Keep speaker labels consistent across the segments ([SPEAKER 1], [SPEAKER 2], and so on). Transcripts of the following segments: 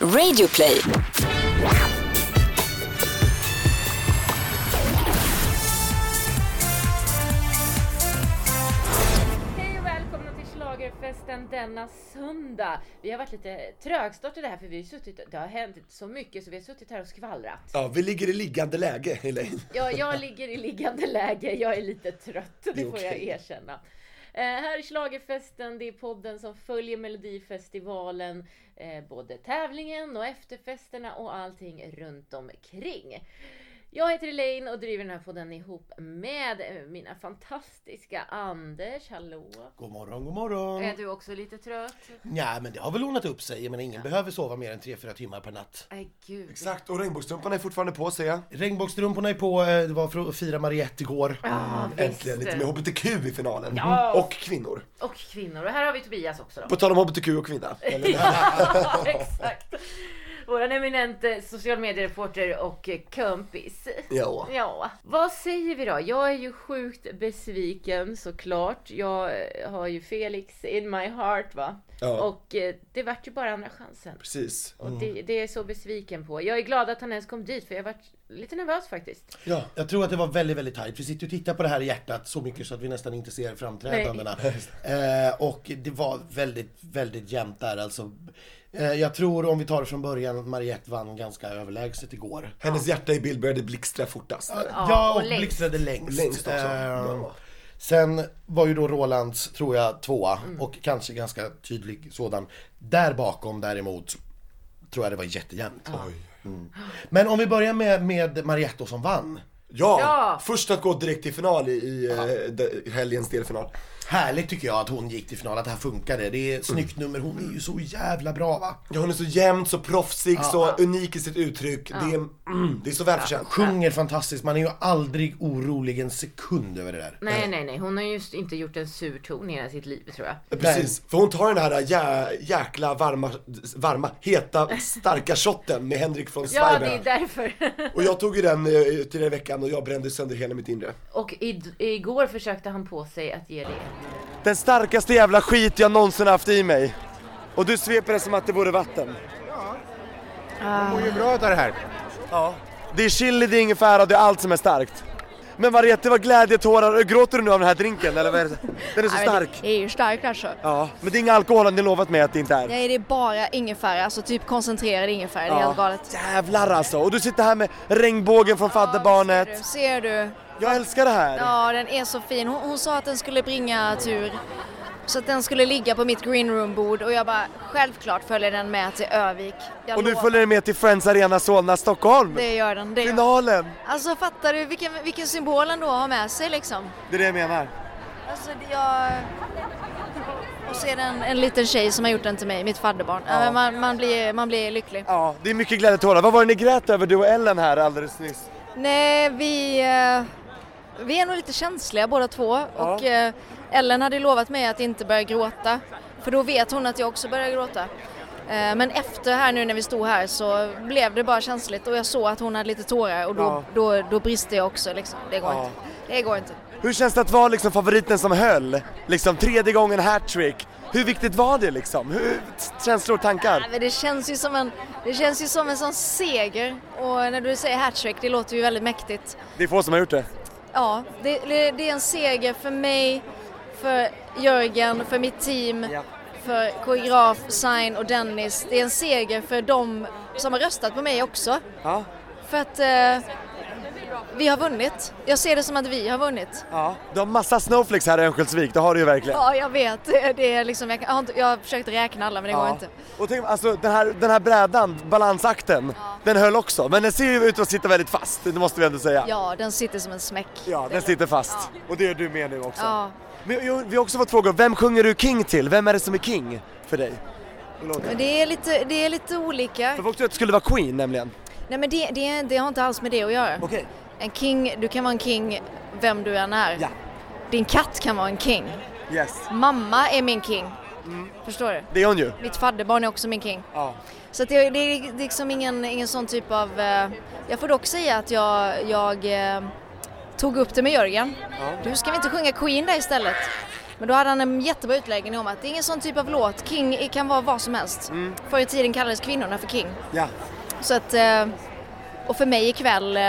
[SPEAKER 1] Radioplay.
[SPEAKER 2] Hej och välkomna till Schlagerfesten denna söndag. Vi har varit lite trögstartade här för vi har suttit, det har hänt så mycket så vi har suttit här och skvallrat.
[SPEAKER 3] Ja, vi ligger i liggande läge, Helene.
[SPEAKER 2] Ja, jag ligger i liggande läge, jag är lite trött, det
[SPEAKER 3] Det är
[SPEAKER 2] får jag
[SPEAKER 3] okej.
[SPEAKER 2] erkänna. Eh, här är Schlagerfesten, det är podden som följer Melodifestivalen, eh, både tävlingen och efterfesterna och allting runt omkring. Jag heter Elaine och driver den här podden ihop med eh, mina fantastiska Anders, hallå!
[SPEAKER 3] God morgon, god morgon.
[SPEAKER 2] Är du också lite trött?
[SPEAKER 3] Nja, men det har väl ordnat upp sig. Jag menar, ingen behöver sova mer än 3-4 timmar per natt.
[SPEAKER 2] Nej gud.
[SPEAKER 4] Exakt, och regnbågsstrumporna är fortfarande på ser jag.
[SPEAKER 3] Regnbågsstrumporna är på. eh, Det var för att fira Mariette igår.
[SPEAKER 2] Ja,
[SPEAKER 4] Ah, Äntligen
[SPEAKER 2] visst.
[SPEAKER 4] lite mer HBTQ i finalen.
[SPEAKER 2] Ja.
[SPEAKER 4] Och kvinnor.
[SPEAKER 2] Och kvinnor. Och här har vi Tobias också då.
[SPEAKER 4] På tal om HBTQ och kvinna.
[SPEAKER 2] ja, exakt. Våran eminente social mediereporter och eh, kompis.
[SPEAKER 4] Ja.
[SPEAKER 2] Ja, vad säger vi då? Jag är ju sjukt besviken såklart. Jag eh, har ju Felix in my heart va.
[SPEAKER 4] Ja. Mm.
[SPEAKER 2] Och eh, det vart ju bara andra chansen.
[SPEAKER 4] Precis.
[SPEAKER 2] Och det, det är jag så besviken på. Jag är glad att han ens kom dit för jag vart lite nervös faktiskt.
[SPEAKER 3] Ja, jag tror att det var väldigt, väldigt tajt. Vi sitter och tittar på det här i hjärtat så mycket så att vi nästan inte ser framträdandena. Eh, och det var väldigt, väldigt jämnt där alltså. Eh, jag tror, om vi tar det från början, att Mariette vann ganska överlägset igår.
[SPEAKER 4] Hennes hjärta i bild började blixtra fortast.
[SPEAKER 2] Ja,
[SPEAKER 3] Ja,
[SPEAKER 2] och
[SPEAKER 3] och
[SPEAKER 2] längst.
[SPEAKER 3] blixtrade längst.
[SPEAKER 4] Längst också.
[SPEAKER 3] Ehm,
[SPEAKER 4] Bra.
[SPEAKER 3] Sen var ju då Rolands, tror jag, tvåa
[SPEAKER 2] Mm.
[SPEAKER 3] och kanske ganska tydlig sådan. Där bakom däremot tror jag det var jättejämnt.
[SPEAKER 4] Oj.
[SPEAKER 3] Men om vi börjar med, med Marietto som vann.
[SPEAKER 4] Ja,
[SPEAKER 2] Ja.
[SPEAKER 4] Först att gå direkt till final i, i eh, de- helgens delfinal.
[SPEAKER 3] Härligt tycker jag att hon gick till final, att det här funkade. Det är ett snyggt
[SPEAKER 1] Mm.
[SPEAKER 3] nummer, hon är ju så jävla bra va?
[SPEAKER 4] Ja, hon är så jämn, så proffsig, så unik i sitt uttryck. Det, är, mm, det är så välförtjänt.
[SPEAKER 3] Sjunger fantastiskt, man är ju aldrig orolig en sekund över det där.
[SPEAKER 2] Nej, nej, nej. Hon har just inte gjort en sur ton i hela sitt liv tror jag.
[SPEAKER 4] Precis, för hon tar den här jä, jäkla varma, varma, heta, starka shotten med Henrik från
[SPEAKER 2] Ja,
[SPEAKER 4] Zweiberg.
[SPEAKER 2] det är därför.
[SPEAKER 4] Och jag tog ju den eh, till den veckan och jag brände sönder hela mitt inre.
[SPEAKER 2] Och id- igår försökte han på sig att ge det.
[SPEAKER 4] Den starkaste jävla skit jag någonsin haft i mig. Och du sveper det som att det vore vatten.
[SPEAKER 5] Ah.
[SPEAKER 6] mår ju bra utav det här.
[SPEAKER 4] Ja. Det är chili, det är ingefära, det är allt som är starkt. Men Mariette, det var glädjetårar. Gråter du nu av den här drinken eller vad är det? Den är så stark.
[SPEAKER 5] Det är ju starkt alltså.
[SPEAKER 4] Ja, men det är inga alkohol har ni lovat mig att det inte är.
[SPEAKER 5] Nej, det är bara ingefära, alltså typ koncentrerad ingefära. Det är helt galet.
[SPEAKER 4] Jävlar alltså! Och du sitter här med regnbågen från fadderbarnet.
[SPEAKER 5] Ser du?
[SPEAKER 4] Jag älskar det här!
[SPEAKER 5] Ja, den är så fin. Hon, hon sa att den skulle bringa tur. Så att den skulle ligga på mitt green room-bord och jag bara självklart följer den med till Övik. Jag
[SPEAKER 4] Och nu
[SPEAKER 5] lovar.
[SPEAKER 4] följer ni med till Friends Arena Solna, Stockholm!
[SPEAKER 5] Det gör den. Det gör. den.
[SPEAKER 4] Finalen!
[SPEAKER 5] Alltså fattar du vilken, vilken symbol han då har med sig liksom?
[SPEAKER 4] Det är det jag menar.
[SPEAKER 5] Alltså det- jag... Och så är det en, en liten tjej som har gjort den till mig, mitt fadderbarn. Ja. men Man, man, blir, man blir lycklig.
[SPEAKER 4] Ja, det är mycket glädjetårar. Vad var det ni grät över du och Ellen här alldeles nyss?
[SPEAKER 5] Nej, vi, eh, vi är nog lite känsliga båda två och eh, Ellen hade lovat mig att inte börja gråta för då vet hon att jag också börjar gråta. Eh, Men efter här nu när vi stod här så blev det bara känsligt och jag såg att hon hade lite tårar och då,
[SPEAKER 4] Ja.
[SPEAKER 5] då, då brister jag också liksom. Det går
[SPEAKER 4] Ja.
[SPEAKER 5] inte. Det går inte.
[SPEAKER 4] Hur känns det att vara liksom favoriten som höll? Liksom tredje gången hattrick. Hur viktigt var det liksom? Hur, känslor och
[SPEAKER 5] Nej,
[SPEAKER 4] tankar?
[SPEAKER 5] men det känns ju som en, det känns ju som en sån seger och när du säger hattrick det låter ju väldigt mäktigt.
[SPEAKER 4] Det är få som har gjort det.
[SPEAKER 5] Ja, det, det det är en seger för mig, för Jörgen, för mitt team, för koreograf, Sign och Dennis. Det är en seger för dem som har röstat på mig också.
[SPEAKER 4] Ja,
[SPEAKER 5] För att eh, vi har vunnit. Jag ser det som att vi har vunnit.
[SPEAKER 4] ja. Du har massa snowflakes här i Örnsköldsvik, det har du ju verkligen.
[SPEAKER 5] Ja, jag vet. Det är liksom, jag, kan- jag, har inte, jag har försökt räkna alla men det går inte.
[SPEAKER 4] Och tänk, alltså den här, den här brädan, balansakten, den höll också. Men den ser ju ut att sitta väldigt fast, det måste vi ändå säga.
[SPEAKER 5] Ja, den sitter som en smäck.
[SPEAKER 4] Ja, den sitter fast. Och det gör du med nu också.
[SPEAKER 5] Ja.
[SPEAKER 4] Men, jo, vi har också fått frågor, vem sjunger du King till? Vem är det som är King för dig?
[SPEAKER 5] Men det är lite, det är lite olika.
[SPEAKER 4] För folk trodde att det skulle vara Queen nämligen.
[SPEAKER 5] Nej men det, det, det har inte alls med det att göra.
[SPEAKER 4] Okej.
[SPEAKER 5] En king, du kan vara en king vem du än är.
[SPEAKER 4] Ja.
[SPEAKER 5] Din katt kan vara en king.
[SPEAKER 4] Yes.
[SPEAKER 5] Mamma är min king.
[SPEAKER 4] Mm.
[SPEAKER 5] Förstår du?
[SPEAKER 4] Det är hon ju.
[SPEAKER 5] Mitt fadderbarn är också min king.
[SPEAKER 4] Ja.
[SPEAKER 5] Så att det, det är liksom ingen, ingen sån typ av... Eh, jag får dock säga att jag, jag eh, tog upp det med Jörgen. Du, ska vi inte sjunga Queen där istället? Men då hade han en jättebra utläggning om att det är ingen sån typ av låt, King kan vara vad som helst.
[SPEAKER 4] Mm.
[SPEAKER 5] Förr i tiden kallades kvinnorna för King.
[SPEAKER 4] Ja.
[SPEAKER 5] Så att, eh, och för mig ikväll eh,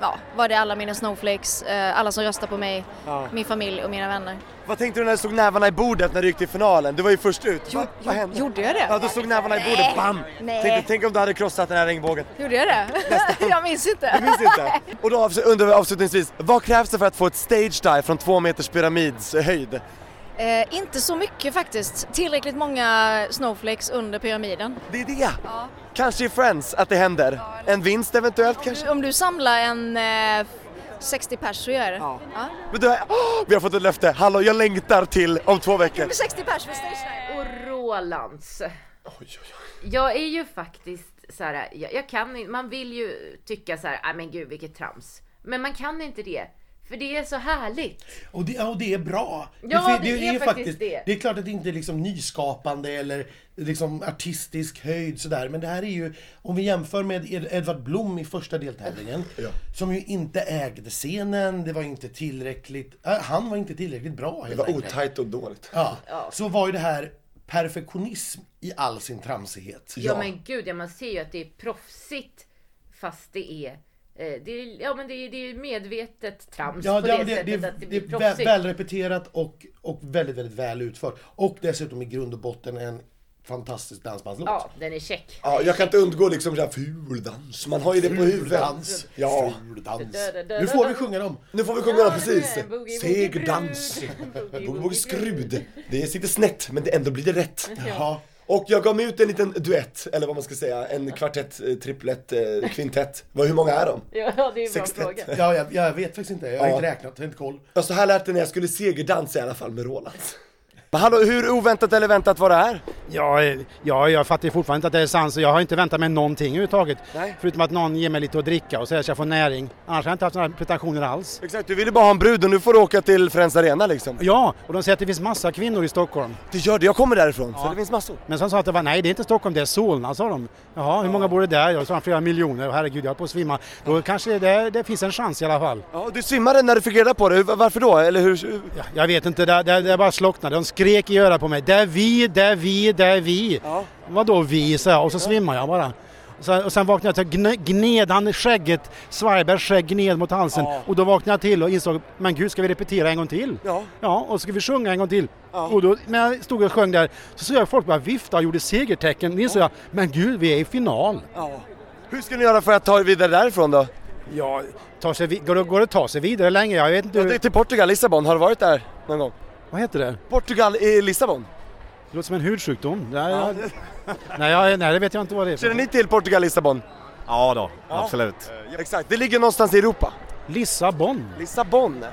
[SPEAKER 5] ja, var det alla mina snowflakes, eh, alla som röstar på mig,
[SPEAKER 4] Ja.
[SPEAKER 5] min familj och mina vänner.
[SPEAKER 4] Vad tänkte du när du slog nävarna i bordet när du gick till finalen? Du var ju först ut.
[SPEAKER 5] Jo-
[SPEAKER 4] Va-
[SPEAKER 5] jo-
[SPEAKER 4] vad hände?
[SPEAKER 5] gjorde jag det?
[SPEAKER 4] Ja, du slog nävarna i bordet.
[SPEAKER 5] Nej.
[SPEAKER 4] Bam!
[SPEAKER 5] Nej.
[SPEAKER 4] Tänkte, tänk om du hade krossat den här regnbågen.
[SPEAKER 5] Gjorde jag det? jag minns inte.
[SPEAKER 4] Jag minns inte. Och då avs- undrar vi avslutningsvis, vad krävs det för att få ett stage dive från två meters pyramids höjd?
[SPEAKER 5] Eh, inte så mycket faktiskt. Tillräckligt många snowflakes under pyramiden.
[SPEAKER 4] Det är det! Kanske i Friends, att det händer. En vinst eventuellt kanske?
[SPEAKER 5] Om du samlar en eh, 60 pers så gör jag det.
[SPEAKER 4] Ja.
[SPEAKER 5] Ja.
[SPEAKER 4] Men du, åh, vi har fått ett löfte. Hallå, jag längtar till om två veckor.
[SPEAKER 5] Med 60 pers för stage dive.
[SPEAKER 2] Och Rolands. Jag är ju faktiskt så här, jag, jag kan inte, man vill ju tycka så här, "Ah, men gud vilket trams. Men man kan inte det. För det är så härligt.
[SPEAKER 3] Och det, ja, och det är bra.
[SPEAKER 2] Ja, det är faktiskt det.
[SPEAKER 3] Det är klart att det inte är liksom nyskapande eller liksom artistisk höjd sådär. Men det här är ju, om vi jämför med Ed- Edvard Blom i första deltävlingen. Som ju inte ägde scenen, det var inte tillräckligt, äh, han var inte tillräckligt bra
[SPEAKER 1] Det
[SPEAKER 3] helt
[SPEAKER 1] var
[SPEAKER 3] enkelt.
[SPEAKER 1] otajt och dåligt.
[SPEAKER 3] Ja. Så var ju det här perfektionism i all sin tramsighet.
[SPEAKER 2] Ja, men gud, ja, man ser ju att det är proffsigt fast det är eh, det är, ja men det är, det är ju medvetet trams
[SPEAKER 3] Ja,
[SPEAKER 2] på
[SPEAKER 3] det,
[SPEAKER 2] det,
[SPEAKER 3] det, det,
[SPEAKER 2] sättet
[SPEAKER 3] det,
[SPEAKER 2] att det
[SPEAKER 3] det
[SPEAKER 2] blir
[SPEAKER 3] är
[SPEAKER 2] proffsigt.
[SPEAKER 3] vä- välrepeterat och, och väldigt, väldigt väl utfört. Och dessutom i grund och botten en fantastisk dansbandslåt.
[SPEAKER 2] Ja, den är check.
[SPEAKER 1] Ja, jag kan inte undgå liksom såhär ful dans. Man har ju det på huvudet.
[SPEAKER 3] Fuldans.
[SPEAKER 1] Ja.
[SPEAKER 3] Fuldans. Nu får vi sjunga dem.
[SPEAKER 1] Nu får vi sjunga ja,
[SPEAKER 2] det är en boogie-woogie-brud.
[SPEAKER 1] precis. Seg dans. Boogie-woogie-skrud. Det sitter snett, men det ändå blir det rätt.
[SPEAKER 3] Jaha.
[SPEAKER 1] Och jag gav mig ut en liten duett, eller vad man ska säga, en kvartett, eh, triplett, eh, kvintett. Vad- Hur många är de?
[SPEAKER 2] Ja, det är en bra
[SPEAKER 1] Sextett.
[SPEAKER 2] fråga.
[SPEAKER 3] Ja, jag, jag vet faktiskt inte. Jag har
[SPEAKER 1] Ja.
[SPEAKER 3] inte räknat, jag har inte koll.
[SPEAKER 1] Ja, så här lät det när jag skulle segerdansa i alla fall med Roland.
[SPEAKER 4] Men hallå, hur oväntat eller väntat var det här?
[SPEAKER 7] Ja, eh, ja, jag fattar ju fortfarande inte att det är sant, så jag har inte väntat mig någonting överhuvudtaget.
[SPEAKER 4] Nej.
[SPEAKER 7] Förutom att någon ger mig lite att dricka och säger att jag får näring. Annars har jag inte haft några pretensioner alls.
[SPEAKER 4] Exakt, du ville bara ha en brud och nu får du åka till Friends Arena liksom.
[SPEAKER 7] Ja, och de säger att det finns massa kvinnor i Stockholm.
[SPEAKER 4] Du gör det, jag kommer därifrån. Så
[SPEAKER 7] Ja.
[SPEAKER 4] det finns massor.
[SPEAKER 7] Men sen sa att det var, nej det är inte Stockholm, det är Solna sa de. Jaha, hur många bor det där? Jag sa flera miljoner, och herregud jag höll på att svimma. Då kanske det, det finns en chans i alla fall.
[SPEAKER 4] Ja, och du svimmade när du fick reda på det. Hur- Varför då? Eller hur?
[SPEAKER 7] Ja, jag vet inte, det, det, det bara slocknade. De skrek i örat på mig. Det är vi, det är vi, det är vi.
[SPEAKER 4] Ja.
[SPEAKER 7] Vadå vi, sa jag och så svimmade jag bara. Och sen, och sen vaknade jag till, gne- gned han skägget, Svajbergs skägg gned mot halsen.
[SPEAKER 4] Ja.
[SPEAKER 7] Och då vaknade jag till och insåg, men gud ska vi repetera en gång till?
[SPEAKER 4] Ja.
[SPEAKER 7] Ja, och ska vi sjunga en gång till?
[SPEAKER 4] Ja.
[SPEAKER 7] Och då, när jag stod och sjöng där så såg jag folk bara vifta och gjorde segertecken. Då insåg jag, men gud vi är i final.
[SPEAKER 4] Ja. Hur ska ni göra för att ta er vidare därifrån då?
[SPEAKER 7] Ja, tar sig, vi- går, det, går det att ta sig vidare längre? Jag vet inte.
[SPEAKER 4] Ja, det är till Portugal, Lissabon. Har du varit där någon gång?
[SPEAKER 7] Vad heter det?
[SPEAKER 4] Portugal i Lissabon.
[SPEAKER 7] Det låter som en hudsjukdom. Nej, jag, nej, jag, nej, det vet jag inte vad det är. för
[SPEAKER 4] Känner ni till Portugal, Lissabon?
[SPEAKER 6] Ja då, absolut.
[SPEAKER 4] Exakt, det ligger någonstans i Europa.
[SPEAKER 7] Lissabon.
[SPEAKER 4] Lissabon.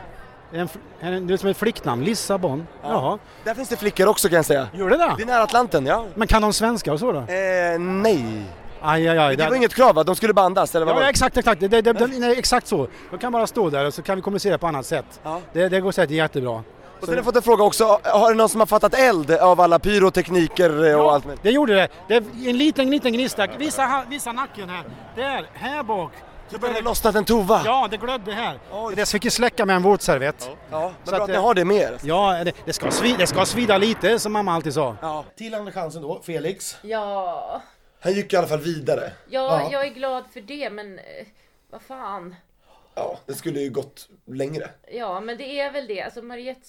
[SPEAKER 7] En, fl- en, det är som ett flicknamn. Lissabon. Jaha.
[SPEAKER 4] Där finns det flickor också kan jag säga.
[SPEAKER 7] Gör det
[SPEAKER 4] Det är
[SPEAKER 7] det?
[SPEAKER 4] nära Atlanten, ja.
[SPEAKER 7] Men kan de svenska och så då?
[SPEAKER 4] Eh, nej.
[SPEAKER 7] Aj, aj, aj.
[SPEAKER 4] Det var
[SPEAKER 7] där-
[SPEAKER 4] inget krav va? De skulle bandas eller vad
[SPEAKER 7] Ja,
[SPEAKER 4] var
[SPEAKER 7] ja,
[SPEAKER 4] det?
[SPEAKER 7] exakt, exakt. Det, det, det, nej, exakt så. De kan bara stå där och så kan vi kommunicera på annat sätt.
[SPEAKER 4] Ja.
[SPEAKER 7] Det, det går säkert jättebra.
[SPEAKER 4] Och sen har jag fått en fråga också. Har det någon som har fattat eld av alla pyrotekniker eh, och allt möjligt?
[SPEAKER 7] Det gjorde det. Det är en liten, liten gnista. Visa, ha- visa nacken här. Där, här bak.
[SPEAKER 4] Jag började lossnat en tova.
[SPEAKER 7] Ja, det glödde här. Det fick vi släcka med en våtservett.
[SPEAKER 4] Ja, men
[SPEAKER 7] Så
[SPEAKER 4] bra
[SPEAKER 7] att,
[SPEAKER 4] att ni
[SPEAKER 7] eh,
[SPEAKER 4] har det med er.
[SPEAKER 7] Ja, det, det, ska svida, det ska svida lite som mamma alltid sa.
[SPEAKER 4] Ja.
[SPEAKER 3] Till Andra chansen då, Felix.
[SPEAKER 2] Ja,
[SPEAKER 1] Han gick i alla fall vidare.
[SPEAKER 2] ja,
[SPEAKER 3] Ja.
[SPEAKER 2] jag är glad för det men eh, vad fan.
[SPEAKER 1] Ja, det skulle ju gått längre.
[SPEAKER 2] Ja, men det är väl det. Alltså Mariette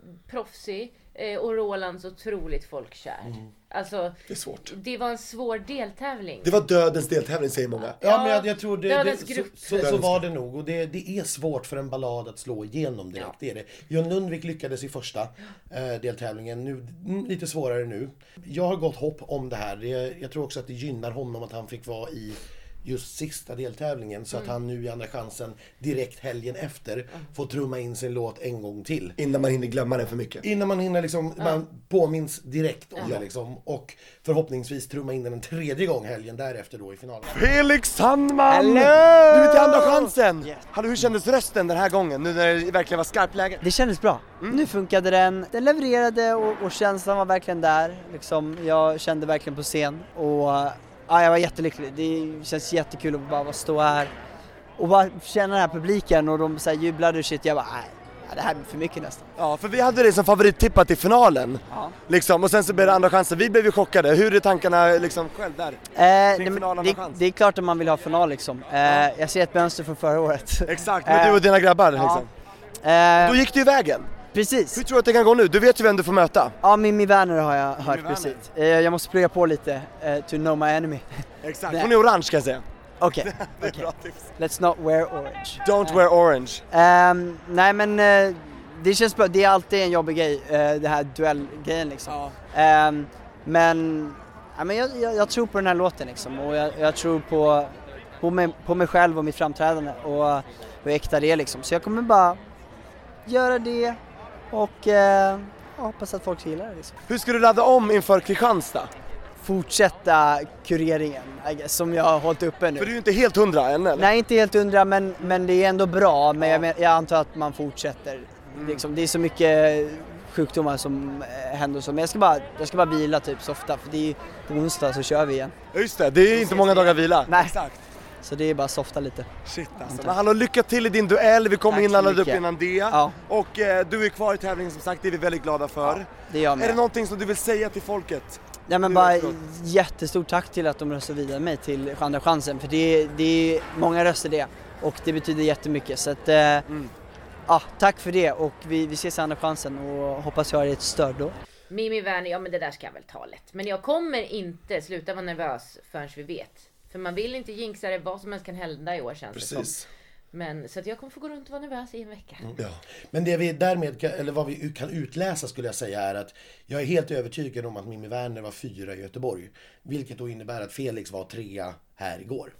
[SPEAKER 2] superproffsig eh, och Roland så otroligt folkkär. Alltså,
[SPEAKER 1] Det är svårt.
[SPEAKER 2] det var en svår deltävling.
[SPEAKER 1] Mm. Det var dödens deltävling säger många.
[SPEAKER 3] Ja, men jag, jag tror det, det
[SPEAKER 2] Dödens
[SPEAKER 3] så,
[SPEAKER 2] grupp.
[SPEAKER 3] så, så var det nog. Och det, det är svårt för en ballad att slå igenom direkt. Det är det. John Lundvik lyckades i första eh, deltävlingen. Nu, mm, lite svårare nu. Jag har gott hopp om det här. Det, jag tror också att det gynnar honom att han fick vara i just sista deltävlingen. Så
[SPEAKER 2] Mm.
[SPEAKER 3] att han nu i Andra chansen direkt helgen efter får trumma in sin låt en gång till.
[SPEAKER 1] Innan man hinner glömma den för mycket.
[SPEAKER 3] Innan man hinner liksom, man påminns direkt om det liksom. Och förhoppningsvis trumma in den en tredje gång helgen därefter då i finalen.
[SPEAKER 4] Felix Sandman!
[SPEAKER 8] Hello!
[SPEAKER 4] Du är till Andra chansen! Hallå, hur kändes rösten den här gången? Nu när det verkligen var skarpt läge?
[SPEAKER 8] Det kändes bra.
[SPEAKER 4] Mm.
[SPEAKER 8] Nu funkade den. Den levererade och, och känslan var verkligen där. Liksom, jag kände verkligen på scen och ja, jag var jättelycklig. Det känns jättekul att bara vara- stå här och bara känna den här publiken och de så här jublade och shit. Jag bara, nej, Ja, det här blir för mycket nästan. Eh,
[SPEAKER 4] Ja, för vi hade dig som favorittippat i finalen.
[SPEAKER 8] Ja.
[SPEAKER 4] Liksom, och sen så blev det andra chansen. Vi blev ju chockade. Hur är tankarna liksom själv där?
[SPEAKER 8] Eh, nej,
[SPEAKER 4] finalen
[SPEAKER 8] men
[SPEAKER 4] har
[SPEAKER 8] det,
[SPEAKER 4] chans.
[SPEAKER 8] det är klart att man vill ha final liksom. Eh, Jag ser ett mönster från förra året.
[SPEAKER 4] Exakt, med du och dina grabbar liksom. Då
[SPEAKER 8] Eh,
[SPEAKER 4] gick det ju vägen. Hur
[SPEAKER 8] precis.
[SPEAKER 4] tror du att det kan gå nu? Du vet ju vem du får möta.
[SPEAKER 8] Ja, Mimmi Werner har jag hört
[SPEAKER 4] Werner.
[SPEAKER 8] precis. Eh, Jag måste plugga på lite, eh, to know my enemy.
[SPEAKER 4] Exakt. Hon är orange kan jag säga.
[SPEAKER 8] Okej,
[SPEAKER 4] Det är bra tips.
[SPEAKER 8] let's not wear orange.
[SPEAKER 4] Don't wear orange.
[SPEAKER 8] Ehm, nej men eh, det känns bra, det är alltid en jobbig grej, eh, det här duellgrejen liksom. Ehm, men ja, men jag, jag, jag tror på den här låten liksom och jag, jag tror på, på, mig, på mig själv och mitt framträdande och eh, hur äkta det är liksom. Så jag kommer bara göra det och eh, ja, hoppas att folk gillar det liksom.
[SPEAKER 4] Hur ska du ladda om inför Kristianstad?
[SPEAKER 8] Fortsätta kureringen I guess, som jag har hållit uppe nu.
[SPEAKER 4] För du är ju inte helt hundra än eller?
[SPEAKER 8] Nej, inte helt undra, men, men det är ändå bra. Men jag, men- jag antar att man fortsätter. Liksom, det är så mycket sjukdomar som eh, händer och så. Men jag ska bara, jag ska bara vila typ så ofta, för det är på onsdag så kör vi igen.
[SPEAKER 4] Ja, Just det, det är ju inte många dagar vila.
[SPEAKER 8] Nej. Så det är bara softa lite.
[SPEAKER 4] Shit alltså. Men hallå, lycka till i din duell. Vi kommer
[SPEAKER 8] Tack
[SPEAKER 4] in
[SPEAKER 8] så
[SPEAKER 4] laddade upp
[SPEAKER 8] mycket.
[SPEAKER 4] innan det.
[SPEAKER 8] Ja.
[SPEAKER 4] Och eh, du är kvar i tävlingen som sagt, det är vi väldigt glada för.
[SPEAKER 8] Det är jag
[SPEAKER 4] Är det
[SPEAKER 8] med.
[SPEAKER 4] någonting som du vill säga till folket?
[SPEAKER 8] Nej, men
[SPEAKER 4] Nu
[SPEAKER 8] bara
[SPEAKER 4] efteråt.
[SPEAKER 8] jättestort tack till att de röstade vidare mig till Andra chansen, för det, det är många röster det. Och det betyder jättemycket. Så att, eh, ja, tack för det och vi, vi ses i Andra chansen och hoppas jag har ett stöd då.
[SPEAKER 2] Mimi Werner, ja men det där ska jag väl ta lätt. Men jag kommer inte sluta vara nervös förrän vi vet. För man vill inte jinxa det, vad som helst kan hända i år känns det som.
[SPEAKER 1] Precis. Mm.
[SPEAKER 2] Men så att jag kommer få gå runt och vara nervös i en vecka.
[SPEAKER 3] Mm. Men det vi därmed, kan- eller vad vi kan utläsa skulle jag säga är att jag är helt övertygad om att Mimmi Werner var fyra i Göteborg. Vilket då innebär att Felix var trea här igår.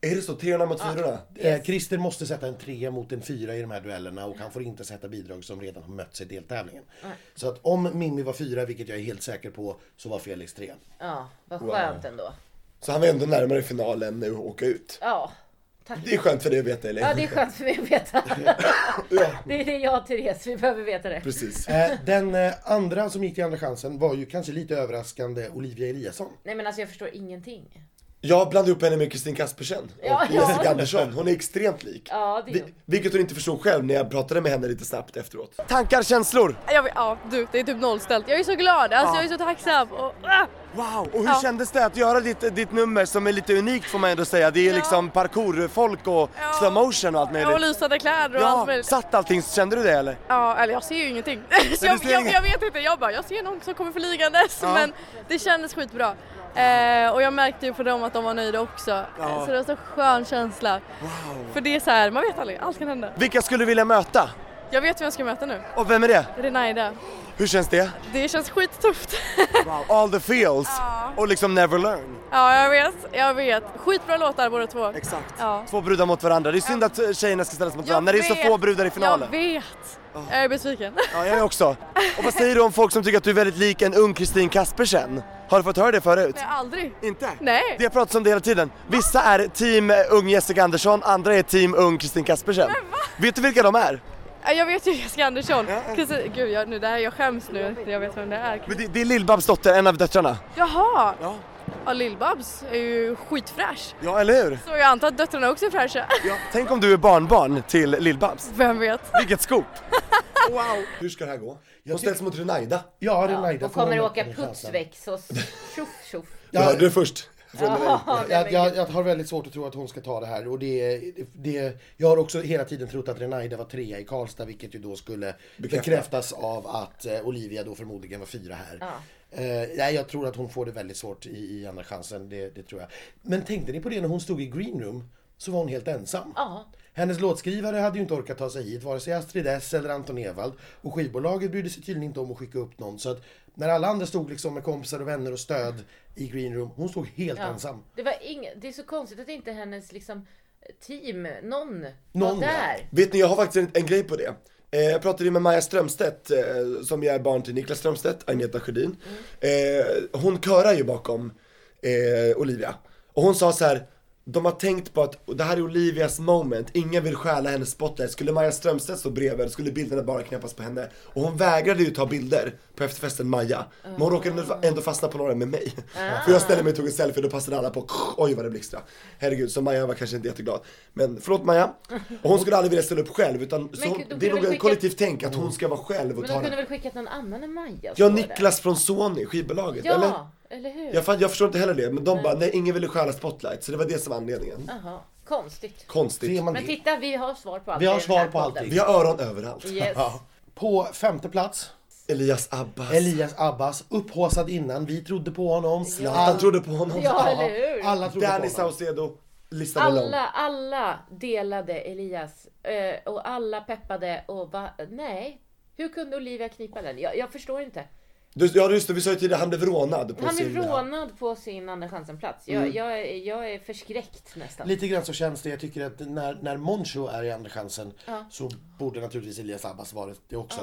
[SPEAKER 1] Är det så? 300 mot 400?
[SPEAKER 3] Eh, Christer måste sätta en trea mot en fyra i de här duellerna och han får inte sätta bidrag som redan har mötts i deltävlingen. Så att om Mimmi var fyra, vilket jag är helt säker på, så var Felix trea.
[SPEAKER 2] Ja, vad skönt ändå.
[SPEAKER 1] Så han var ändå närmare finalen nu och åka ut.
[SPEAKER 2] Ja, tack.
[SPEAKER 1] Det är skönt för dig att veta eller?
[SPEAKER 2] Ja, det är skönt för mig att veta. Det är det jag och Therese, vi behöver veta det.
[SPEAKER 1] Precis.
[SPEAKER 3] Eh, den eh, andra som gick till andra chansen var ju kanske lite överraskande Olivia Eliasson.
[SPEAKER 2] Nej men alltså jag förstår ingenting.
[SPEAKER 1] Jag blandade upp henne med Kristin Kaspersen och
[SPEAKER 2] Ja, ja.
[SPEAKER 1] Jessica Andersson. Hon är extremt lik.
[SPEAKER 2] Ja, det är
[SPEAKER 1] Vi,
[SPEAKER 2] hon.
[SPEAKER 1] vilket hon inte förstod själv när jag pratade med henne lite snabbt efteråt.
[SPEAKER 4] Tankar, känslor?
[SPEAKER 9] Jag, ja, du, det är typ nollställt. Jag är så glad, alltså jag är så tacksam. Och, ah!
[SPEAKER 4] Wow! Och hur
[SPEAKER 9] Ja.
[SPEAKER 4] kändes det att göra ditt, ditt nummer som är lite unikt får man ändå säga. Det är
[SPEAKER 9] Ja.
[SPEAKER 4] liksom parkourfolk och
[SPEAKER 9] Ja.
[SPEAKER 4] slow motion och allt
[SPEAKER 9] Jag har
[SPEAKER 4] möjligt.
[SPEAKER 9] lysande kläder och allt
[SPEAKER 4] Ja,
[SPEAKER 9] möjligt.
[SPEAKER 4] satt allting, kände du det eller?
[SPEAKER 9] Ja, eller jag ser ju ingenting. Så
[SPEAKER 4] du
[SPEAKER 9] jag,
[SPEAKER 4] ser
[SPEAKER 9] jag,
[SPEAKER 4] inget.
[SPEAKER 9] jag vet inte, jag bara, jag ser någon som kommer flygandes.
[SPEAKER 4] Ja.
[SPEAKER 9] Men det kändes skitbra. Eh, och jag märkte ju på dem att de var nöjda också. Eh, Så det var så skön känsla. För det är så här, man vet aldrig, allt kan hända.
[SPEAKER 4] Vilka skulle du vilja möta?
[SPEAKER 9] Jag vet vem jag ska möta nu,
[SPEAKER 4] Och vem är det?
[SPEAKER 9] Renaida.
[SPEAKER 4] Hur känns det?
[SPEAKER 9] Det känns skittufft.
[SPEAKER 4] All the feels
[SPEAKER 9] Ja.
[SPEAKER 4] och liksom never learn.
[SPEAKER 9] ja, jag vet, jag vet. Skitbra låtar båda två.
[SPEAKER 4] Exakt.
[SPEAKER 9] Ja.
[SPEAKER 4] Två brudar mot varandra. Det är synd att eh, tjejerna ska ställas mot varandra när det är så
[SPEAKER 9] vet.
[SPEAKER 4] få brudar i finalen.
[SPEAKER 9] Jag vet. Jag är besviken.
[SPEAKER 4] Ja, jag är också. Och vad säger du om folk som tycker att du är väldigt lik en ung Kristin Kaspersen? Har du fått höra det förut?
[SPEAKER 9] Nej, aldrig.
[SPEAKER 4] Inte?
[SPEAKER 9] Nej.
[SPEAKER 4] Det har pratats om det hela tiden. Vissa är team eh, ung Jessica Andersson, andra är team ung Kristin Kaspersen. Vet du vilka de är?
[SPEAKER 9] Ja, Jag vet ju Jessica Andersson. Kristin, gud, jag, nu, det här, jag skäms nu när jag vet vem det är.
[SPEAKER 4] Men det, det är Lill-Babs dotter, en av döttrarna.
[SPEAKER 9] Jaha!
[SPEAKER 4] Ja.
[SPEAKER 9] Ja, Lill-Babs är ju skitfräsch.
[SPEAKER 4] Ja, eller hur?
[SPEAKER 9] Så jag antar att döttrarna också är fräscha.
[SPEAKER 4] Tänk om du är barnbarn till Lill-Babs.
[SPEAKER 9] Vem vet?
[SPEAKER 4] Vilket scoop!
[SPEAKER 1] Hur ska det här gå? Hon ställs mot Renaida.
[SPEAKER 3] Ja,
[SPEAKER 2] Ja,
[SPEAKER 3] Renaida
[SPEAKER 2] och kommer
[SPEAKER 3] hon-
[SPEAKER 2] åka putsväx och tjoff tjoff.
[SPEAKER 1] Jag hörde det först.
[SPEAKER 2] Ja,
[SPEAKER 3] Jag, jag, jag har väldigt svårt att tro att hon ska ta det här och det, det, jag har också hela tiden trott att Renaida var trea i Karlstad vilket ju då skulle
[SPEAKER 1] Bekräfta.
[SPEAKER 3] bekräftas av att eh, Olivia då förmodligen var fyra här. Eh, nej, jag tror att hon får det väldigt svårt i, i andra chansen, det, det tror jag. Men tänkte ni på det när hon stod i Green Room så var hon helt ensam.
[SPEAKER 2] Ja.
[SPEAKER 3] Hennes låtskrivare hade ju inte orkat ta sig hit, vare sig Astrid S eller Anton Ewald. Och skivbolaget brydde sig tydligen inte om att skicka upp någon. Så att när alla andra stod liksom med kompisar och vänner och stöd i Green Room, hon stod helt ensam.
[SPEAKER 2] Det, var ing... det är så konstigt att inte hennes liksom, team, någon,
[SPEAKER 3] Någon,
[SPEAKER 2] var
[SPEAKER 3] ja.
[SPEAKER 2] där.
[SPEAKER 1] Vet ni, jag har faktiskt en, en grej på det. Eh, jag pratade ju med Maja Strömstedt, eh, som ju är barn till Niklas Strömstedt, Agneta Sjödin.
[SPEAKER 9] Mm.
[SPEAKER 1] Eh, hon körar ju bakom eh, Olivia. Och hon sa så här,
[SPEAKER 4] de har tänkt på att och det här är Olivias moment, ingen vill stjäla hennes spotlight. Skulle Maja Strömstedt stå bredvid skulle bilderna bara knäppas på henne. Och hon vägrade ju ta bilder på efterfesten Maja. Men hon råkade
[SPEAKER 2] Ah.
[SPEAKER 4] ändå- ändå fastna på några med mig. För jag ställde mig och tog en selfie och då passade alla på, oj vad det blixtrade. Herregud, så Maja var kanske inte jätteglad. Men förlåt Maja. Och hon skulle aldrig vilja ställa upp själv utan så
[SPEAKER 2] Men
[SPEAKER 4] hon,
[SPEAKER 2] de
[SPEAKER 4] det är
[SPEAKER 2] kunde
[SPEAKER 4] nog
[SPEAKER 2] väl
[SPEAKER 4] ett
[SPEAKER 2] skicka-
[SPEAKER 4] kollektivt tänk att hon ska vara själv och
[SPEAKER 2] Men de
[SPEAKER 4] ta den.
[SPEAKER 2] kunde väl skickat någon annan än Maja?
[SPEAKER 4] Ja,
[SPEAKER 2] står det.
[SPEAKER 4] Niklas från Sony, skivbolaget,
[SPEAKER 2] Ja,
[SPEAKER 4] eller?
[SPEAKER 2] eller, hur?
[SPEAKER 4] Jag, fan, jag förstår inte heller det, men de
[SPEAKER 2] Mm.
[SPEAKER 4] bara, nej ingen ville stjäla spotlight, så det var det som var anledningen.
[SPEAKER 2] Jaha, konstigt.
[SPEAKER 4] Konstigt.
[SPEAKER 3] Ser man
[SPEAKER 2] Men
[SPEAKER 3] det?
[SPEAKER 2] titta, vi har svar på allt
[SPEAKER 3] Vi har
[SPEAKER 2] i den
[SPEAKER 3] svar
[SPEAKER 2] här
[SPEAKER 3] på
[SPEAKER 2] podden.
[SPEAKER 3] allting.
[SPEAKER 4] Vi har öron överallt.
[SPEAKER 2] Yes.
[SPEAKER 3] På femte plats,
[SPEAKER 4] Elias Abbas.
[SPEAKER 3] Elias Abbas. Upphaussad innan, vi trodde på honom.
[SPEAKER 4] Han trodde på honom.
[SPEAKER 2] Ja, eller hur?
[SPEAKER 3] Alla trodde
[SPEAKER 4] Danny
[SPEAKER 3] på honom.
[SPEAKER 4] Saucedo, listan är lång.
[SPEAKER 2] Alla, alla delade Elias eh, och alla peppade och va, nej. Hur kunde Olivia knipa den? Jag, jag förstår inte.
[SPEAKER 4] Du, ja just det, vi sa ju tidigare, han blev rånad på
[SPEAKER 2] Han
[SPEAKER 4] sin...
[SPEAKER 2] blev rånad på sin Andra chansen-plats. Jag, jag, är- jag är förskräckt nästan.
[SPEAKER 3] Lite grann så känns det, jag tycker att när, när Moncho är i Andra chansen så borde naturligtvis Elias Abbas varit det också.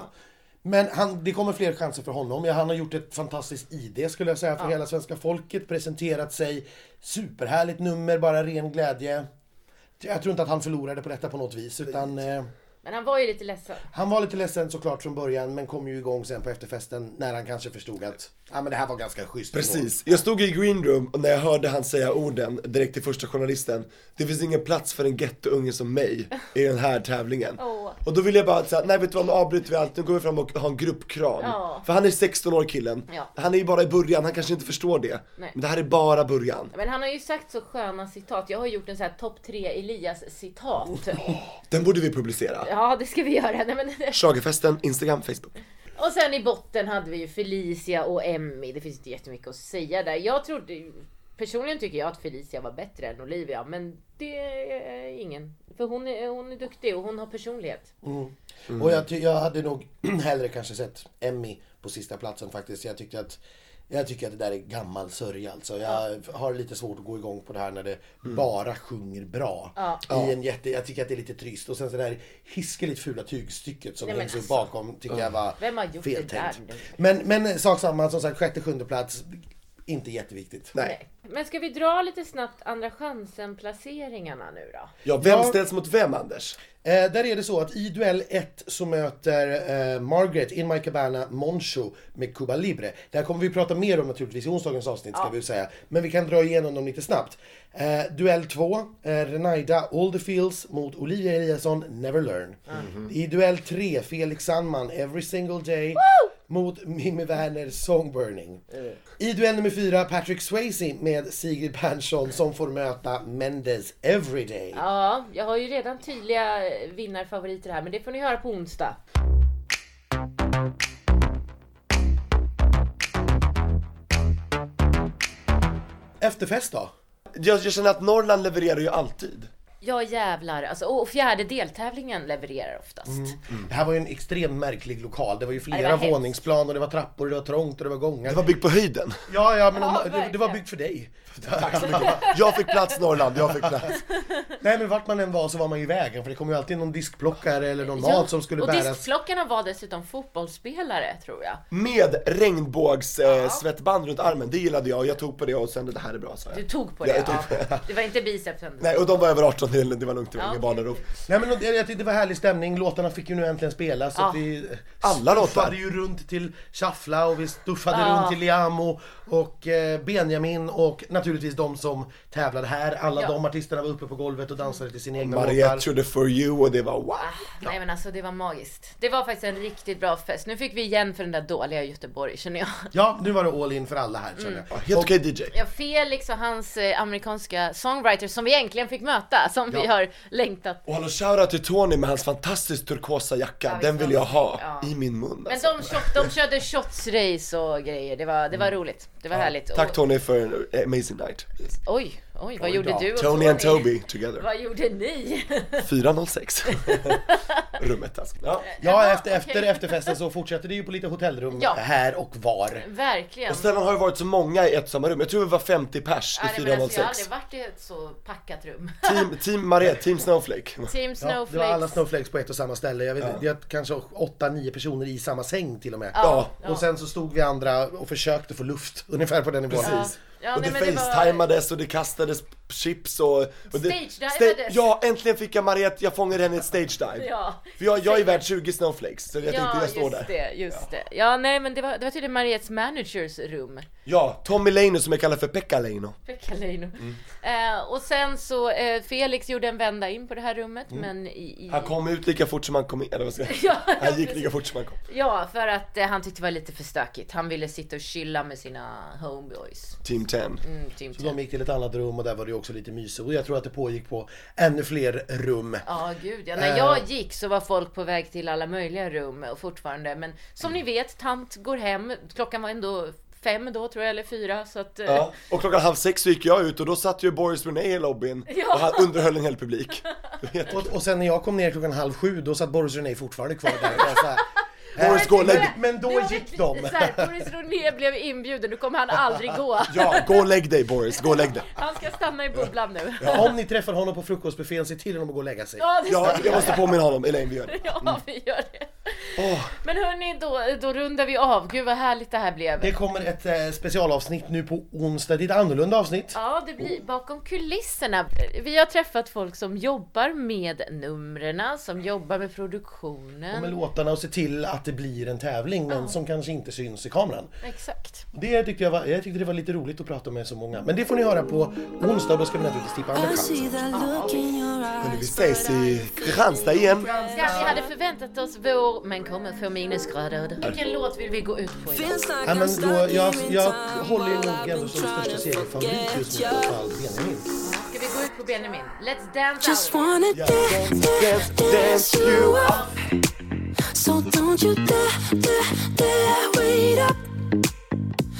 [SPEAKER 3] Men han, det kommer fler chanser för honom. Ja, han har gjort ett fantastiskt ID skulle jag säga för hela svenska folket. Presenterat sig. Superhärligt nummer, bara ren glädje. Jag tror inte att han förlorade på detta på något vis utan eh,
[SPEAKER 2] Men han var ju lite ledsen.
[SPEAKER 3] han var lite ledsen såklart från början men kom ju igång sen på efterfesten när han kanske förstod att ja, men det här var ganska schysst.
[SPEAKER 4] Precis. Jag stod i green room och när jag hörde han säga orden direkt till första journalisten. Det finns ingen plats för en gettounge som mig i den här tävlingen.
[SPEAKER 2] Åh.
[SPEAKER 4] Och då ville jag bara säga, nej vet du vad, nu avbryter vi allt, nu går vi fram och har en gruppkram.
[SPEAKER 2] Ja.
[SPEAKER 4] För han är 16 år killen.
[SPEAKER 2] Ja.
[SPEAKER 4] Han är ju bara i början, han kanske inte förstår det.
[SPEAKER 2] Nej.
[SPEAKER 4] Men det här är bara början.
[SPEAKER 2] Men han har ju sagt så sköna citat. Jag har gjort en sån här topp tre Elias-citat.
[SPEAKER 4] Den borde vi publicera.
[SPEAKER 2] Ja, det ska vi göra. Nej, men...
[SPEAKER 4] Schlagerfesten, Instagram, Facebook.
[SPEAKER 2] Och sen i botten hade vi ju Felicia och Emmy. Det finns inte jättemycket att säga där. Jag trodde, personligen tycker jag att Felicia var bättre än Olivia, men det är ingen. För hon är, hon är duktig och hon har personlighet.
[SPEAKER 4] Mm.
[SPEAKER 3] Och jag, ty- jag hade nog hellre kanske sett Emmy på sista platsen faktiskt. Jag tyckte att jag tycker att det där är gammal sörja alltså. Jag har lite svårt att gå igång på det här när det
[SPEAKER 4] Mm.
[SPEAKER 3] bara sjunger bra. I en jätte, jag tycker att det är lite trist. Och sen så det där hiskeligt fula tygstycket som
[SPEAKER 2] Nej, men
[SPEAKER 3] hängs upp
[SPEAKER 2] alltså.
[SPEAKER 3] bakom tycker jag var
[SPEAKER 2] Vem har gjort det
[SPEAKER 3] feltänkt.
[SPEAKER 2] där nu?
[SPEAKER 3] Men, men sak samma, som sagt sjätte, sjunde plats. Inte jätteviktigt.
[SPEAKER 4] Nej.
[SPEAKER 2] Men ska vi dra lite snabbt andra chansen-placeringarna nu då?
[SPEAKER 4] Ja, vem
[SPEAKER 3] Ja.
[SPEAKER 4] ställs mot vem Anders?
[SPEAKER 3] Eh, där är det så att i duell 1 så möter eh, Margaret in My Cabana Moncho med Cuba Libre. Det här kommer vi prata mer om naturligtvis i onsdagens avsnitt ska vi ju säga. Men vi kan dra igenom dem lite snabbt. Eh, duell 2, eh, Renaida All the Fields mot Olivia Eliasson Never Learn. I duell 3, Felix Sandman Every Single Day mot Mimmi Werner Songburning. I duell nummer 4, Patrick Swayze med Sigrid Persson som får möta Mendes Every Day.
[SPEAKER 2] Ja, jag har ju redan tydliga eh, vinnarfavoriter här, men det får ni höra på onsdag.
[SPEAKER 3] Efterfest då?
[SPEAKER 4] Jag, jag känner att Norrland levererar ju alltid.
[SPEAKER 2] Ja jävlar, alltså, och fjärde deltävlingen levererar oftast.
[SPEAKER 3] Det här var ju en extremt märklig lokal. Det var ju
[SPEAKER 2] det
[SPEAKER 3] flera
[SPEAKER 2] var hemskt.
[SPEAKER 3] våningsplan och det var trappor och det var trångt och det var gångar.
[SPEAKER 4] Det var byggt på höjden.
[SPEAKER 3] Ja, ja, men
[SPEAKER 2] Ja,
[SPEAKER 3] de, det, det var
[SPEAKER 2] verkligen.
[SPEAKER 3] byggt för dig.
[SPEAKER 4] Jag fick plats Norrland, jag fick plats.
[SPEAKER 3] Nej, men vart man än var så var man ju i vägen för det kom ju alltid någon diskplockare eller någon
[SPEAKER 2] Ja,
[SPEAKER 3] mat som skulle
[SPEAKER 2] och
[SPEAKER 3] bäras.
[SPEAKER 2] diskplockarna var dessutom fotbollsspelare tror jag.
[SPEAKER 4] Med regnbågssvettband eh, svettband runt armen, det gillade jag. Jag tog på det och sen det här är bra sa
[SPEAKER 2] Du
[SPEAKER 4] jag.
[SPEAKER 2] tog på
[SPEAKER 4] Ja,
[SPEAKER 2] det?
[SPEAKER 4] jag tog
[SPEAKER 2] ja. Det var inte bicepsen?
[SPEAKER 4] Nej, och de var över 18, det det var lugnt, det var
[SPEAKER 2] Ja,
[SPEAKER 4] ingen
[SPEAKER 2] okej.
[SPEAKER 4] barnarop.
[SPEAKER 3] Nej, men jag tyckte det var härlig stämning. Låtarna fick ju nu äntligen spelas. Så
[SPEAKER 2] Ja.
[SPEAKER 3] att vi
[SPEAKER 4] Alla låtar.
[SPEAKER 3] stuffade ju runt till Shuffla och vi stuffade
[SPEAKER 2] Ja.
[SPEAKER 3] runt till Liamo och eh, Benjamin och naturligtvis de som tävlade här. Alla
[SPEAKER 2] Ja.
[SPEAKER 3] de artisterna var uppe på golvet och dansade till sina egna
[SPEAKER 4] Mariette
[SPEAKER 3] låtar.
[SPEAKER 4] gjorde For You och det var wow.
[SPEAKER 2] Nej men alltså det var magiskt. Det var faktiskt en riktigt bra fest. Nu fick vi igen för den där dåliga Göteborg känner jag.
[SPEAKER 3] Ja, nu var det all in för alla här känner jag.
[SPEAKER 4] Ja, Helt okej DJ.
[SPEAKER 2] Ja, Felix och hans eh, amerikanska songwriter som vi äntligen fick möta, som vi har längtat.
[SPEAKER 4] Och hallå shoutout till Tony med hans fantastiskt turkosa jacka, den vill jag ha
[SPEAKER 2] Ja.
[SPEAKER 4] i min mun
[SPEAKER 2] Men
[SPEAKER 4] alltså.
[SPEAKER 2] de, shot, de körde shotsrace och grejer. Det var, det var roligt. Det var härligt.
[SPEAKER 4] Tack
[SPEAKER 2] och,
[SPEAKER 4] Tony för en amazing night.
[SPEAKER 2] Oj, oj, vad gjorde
[SPEAKER 3] då.
[SPEAKER 2] du och
[SPEAKER 4] Tony and Toby together.
[SPEAKER 2] Vad gjorde ni?
[SPEAKER 4] 406. Rummet alltså. Ja.
[SPEAKER 3] Ja, efter, efter efterfesten så fortsätter det ju på lite hotellrum
[SPEAKER 2] Ja.
[SPEAKER 3] här och var.
[SPEAKER 2] Verkligen.
[SPEAKER 4] Och sällan har det varit så många i ett samma rum. Jag tror vi var 50 pers
[SPEAKER 2] Ja,
[SPEAKER 4] i
[SPEAKER 2] nej, men alltså, jag har
[SPEAKER 4] 406.
[SPEAKER 2] aldrig varit i ett så packat rum.
[SPEAKER 4] Team, team Mariette, Team Snowflake.
[SPEAKER 2] Team
[SPEAKER 3] Ja,
[SPEAKER 2] Snowflakes.
[SPEAKER 3] det var alla snowflakes på ett och samma ställe. Jag vet inte, jag kanske åtta, nio personer i samma säng till och med.
[SPEAKER 4] Ja.
[SPEAKER 3] Och sen så stod vi andra och försökte få luft, ungefär på den nivån.
[SPEAKER 4] Precis.
[SPEAKER 2] Ja,
[SPEAKER 4] och
[SPEAKER 2] nej,
[SPEAKER 4] det
[SPEAKER 2] men det var-
[SPEAKER 4] facetimades och det kastades chips och... och
[SPEAKER 2] Stage divades.
[SPEAKER 4] Ja, äntligen fick jag Mariette, jag fångade henne i ett stage dive.
[SPEAKER 2] Ja.
[SPEAKER 4] För jag, jag är värd 20 snowflakes, så jag tänkte jag står
[SPEAKER 2] just
[SPEAKER 4] där.
[SPEAKER 2] det, just det. Ja, nej men det var, det var tydligen Mariettes managers rum.
[SPEAKER 4] Ja, Tommy Leino som jag kallar för Pekka Leino.
[SPEAKER 2] Pekka Leino.
[SPEAKER 4] Mm.
[SPEAKER 2] Eh, och sen så, eh, Felix gjorde en vända in på det här rummet, men i... i
[SPEAKER 4] Mm. Han kom ut lika fort som han kom in, eller vad ska jag
[SPEAKER 2] Ja,
[SPEAKER 4] säga? Han gick lika fort som han kom.
[SPEAKER 2] Ja, för att eh, han tyckte det var lite för stökigt. Han ville sitta och chilla med sina homeboys.
[SPEAKER 4] Team 10.
[SPEAKER 2] Mm, team
[SPEAKER 3] Så de
[SPEAKER 2] team.
[SPEAKER 3] gick till ett annat rum och där var det ju också lite mysigt och jag tror att det pågick på ännu fler rum.
[SPEAKER 2] Ja, gud ja. När
[SPEAKER 3] Eh.
[SPEAKER 2] jag gick så var folk på väg till alla möjliga rum och fortfarande. Men som ni vet, tant går hem. Klockan var ändå fem då tror jag, eller fyra. Så att, eh,
[SPEAKER 4] Ja, och klockan halv sex så gick jag ut och då satt ju Boris Renay i lobbyn och han underhöll en hel publik.
[SPEAKER 3] Och, och sen när jag kom ner klockan halv sju då satt Boris René fortfarande kvar där. Jag så här, "Äh,
[SPEAKER 4] Boris gå och lägg dig.
[SPEAKER 3] men
[SPEAKER 2] det
[SPEAKER 3] då
[SPEAKER 2] var
[SPEAKER 3] gick
[SPEAKER 2] lite
[SPEAKER 3] de.
[SPEAKER 2] Så här, Boris Roné blev inbjuden, nu kommer han aldrig gå.
[SPEAKER 4] Ja, gå och lägg dig Boris, gå och lägg dig.
[SPEAKER 2] Han ska stanna i bubblan nu.
[SPEAKER 3] Om ni träffar honom på frukostbuffén, se till honom att gå och lägga sig.
[SPEAKER 2] Ja, det
[SPEAKER 4] Ja, jag måste påminna honom, Elaine vi gör det.
[SPEAKER 3] Mm.
[SPEAKER 2] Ja, vi gör det. Men hörni, då, då rundar vi av. Gud vad härligt det här blev.
[SPEAKER 3] Det kommer ett eh, specialavsnitt nu på onsdag, det är ett annorlunda avsnitt.
[SPEAKER 2] Ja, det blir bakom kulisserna. Vi har träffat folk som jobbar med numren, som jobbar med
[SPEAKER 3] Med
[SPEAKER 2] produktionen.
[SPEAKER 3] låtarna och se till att det blir en tävling men som kanske inte syns i kameran.
[SPEAKER 2] Exakt.
[SPEAKER 3] Det tyckte jag, var, jag tyckte det var lite roligt att prata med så många. Men det får ni höra på onsdag, då ska vi naturligtvis tippa andra chansen.
[SPEAKER 4] Hörni, vi ses i Kristianstad igen.
[SPEAKER 2] Ja, vi hade förväntat oss vår, men kommer få minusgrader. Vilken låt vill vi gå ut på idag?
[SPEAKER 3] Ja, men då, jag, jag håller ju nog ändå som största segerfavorit just nu i alla fall Benjamin.
[SPEAKER 2] Ska vi gå ut på Benjamin? Let's dance out!
[SPEAKER 9] wanna dance, dance, dance you up. So don't you dare, dare, dare wait up.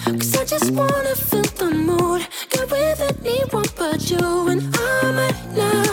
[SPEAKER 9] Cause I just wanna feel the mood. Got with anyone but you, and I might not Oh,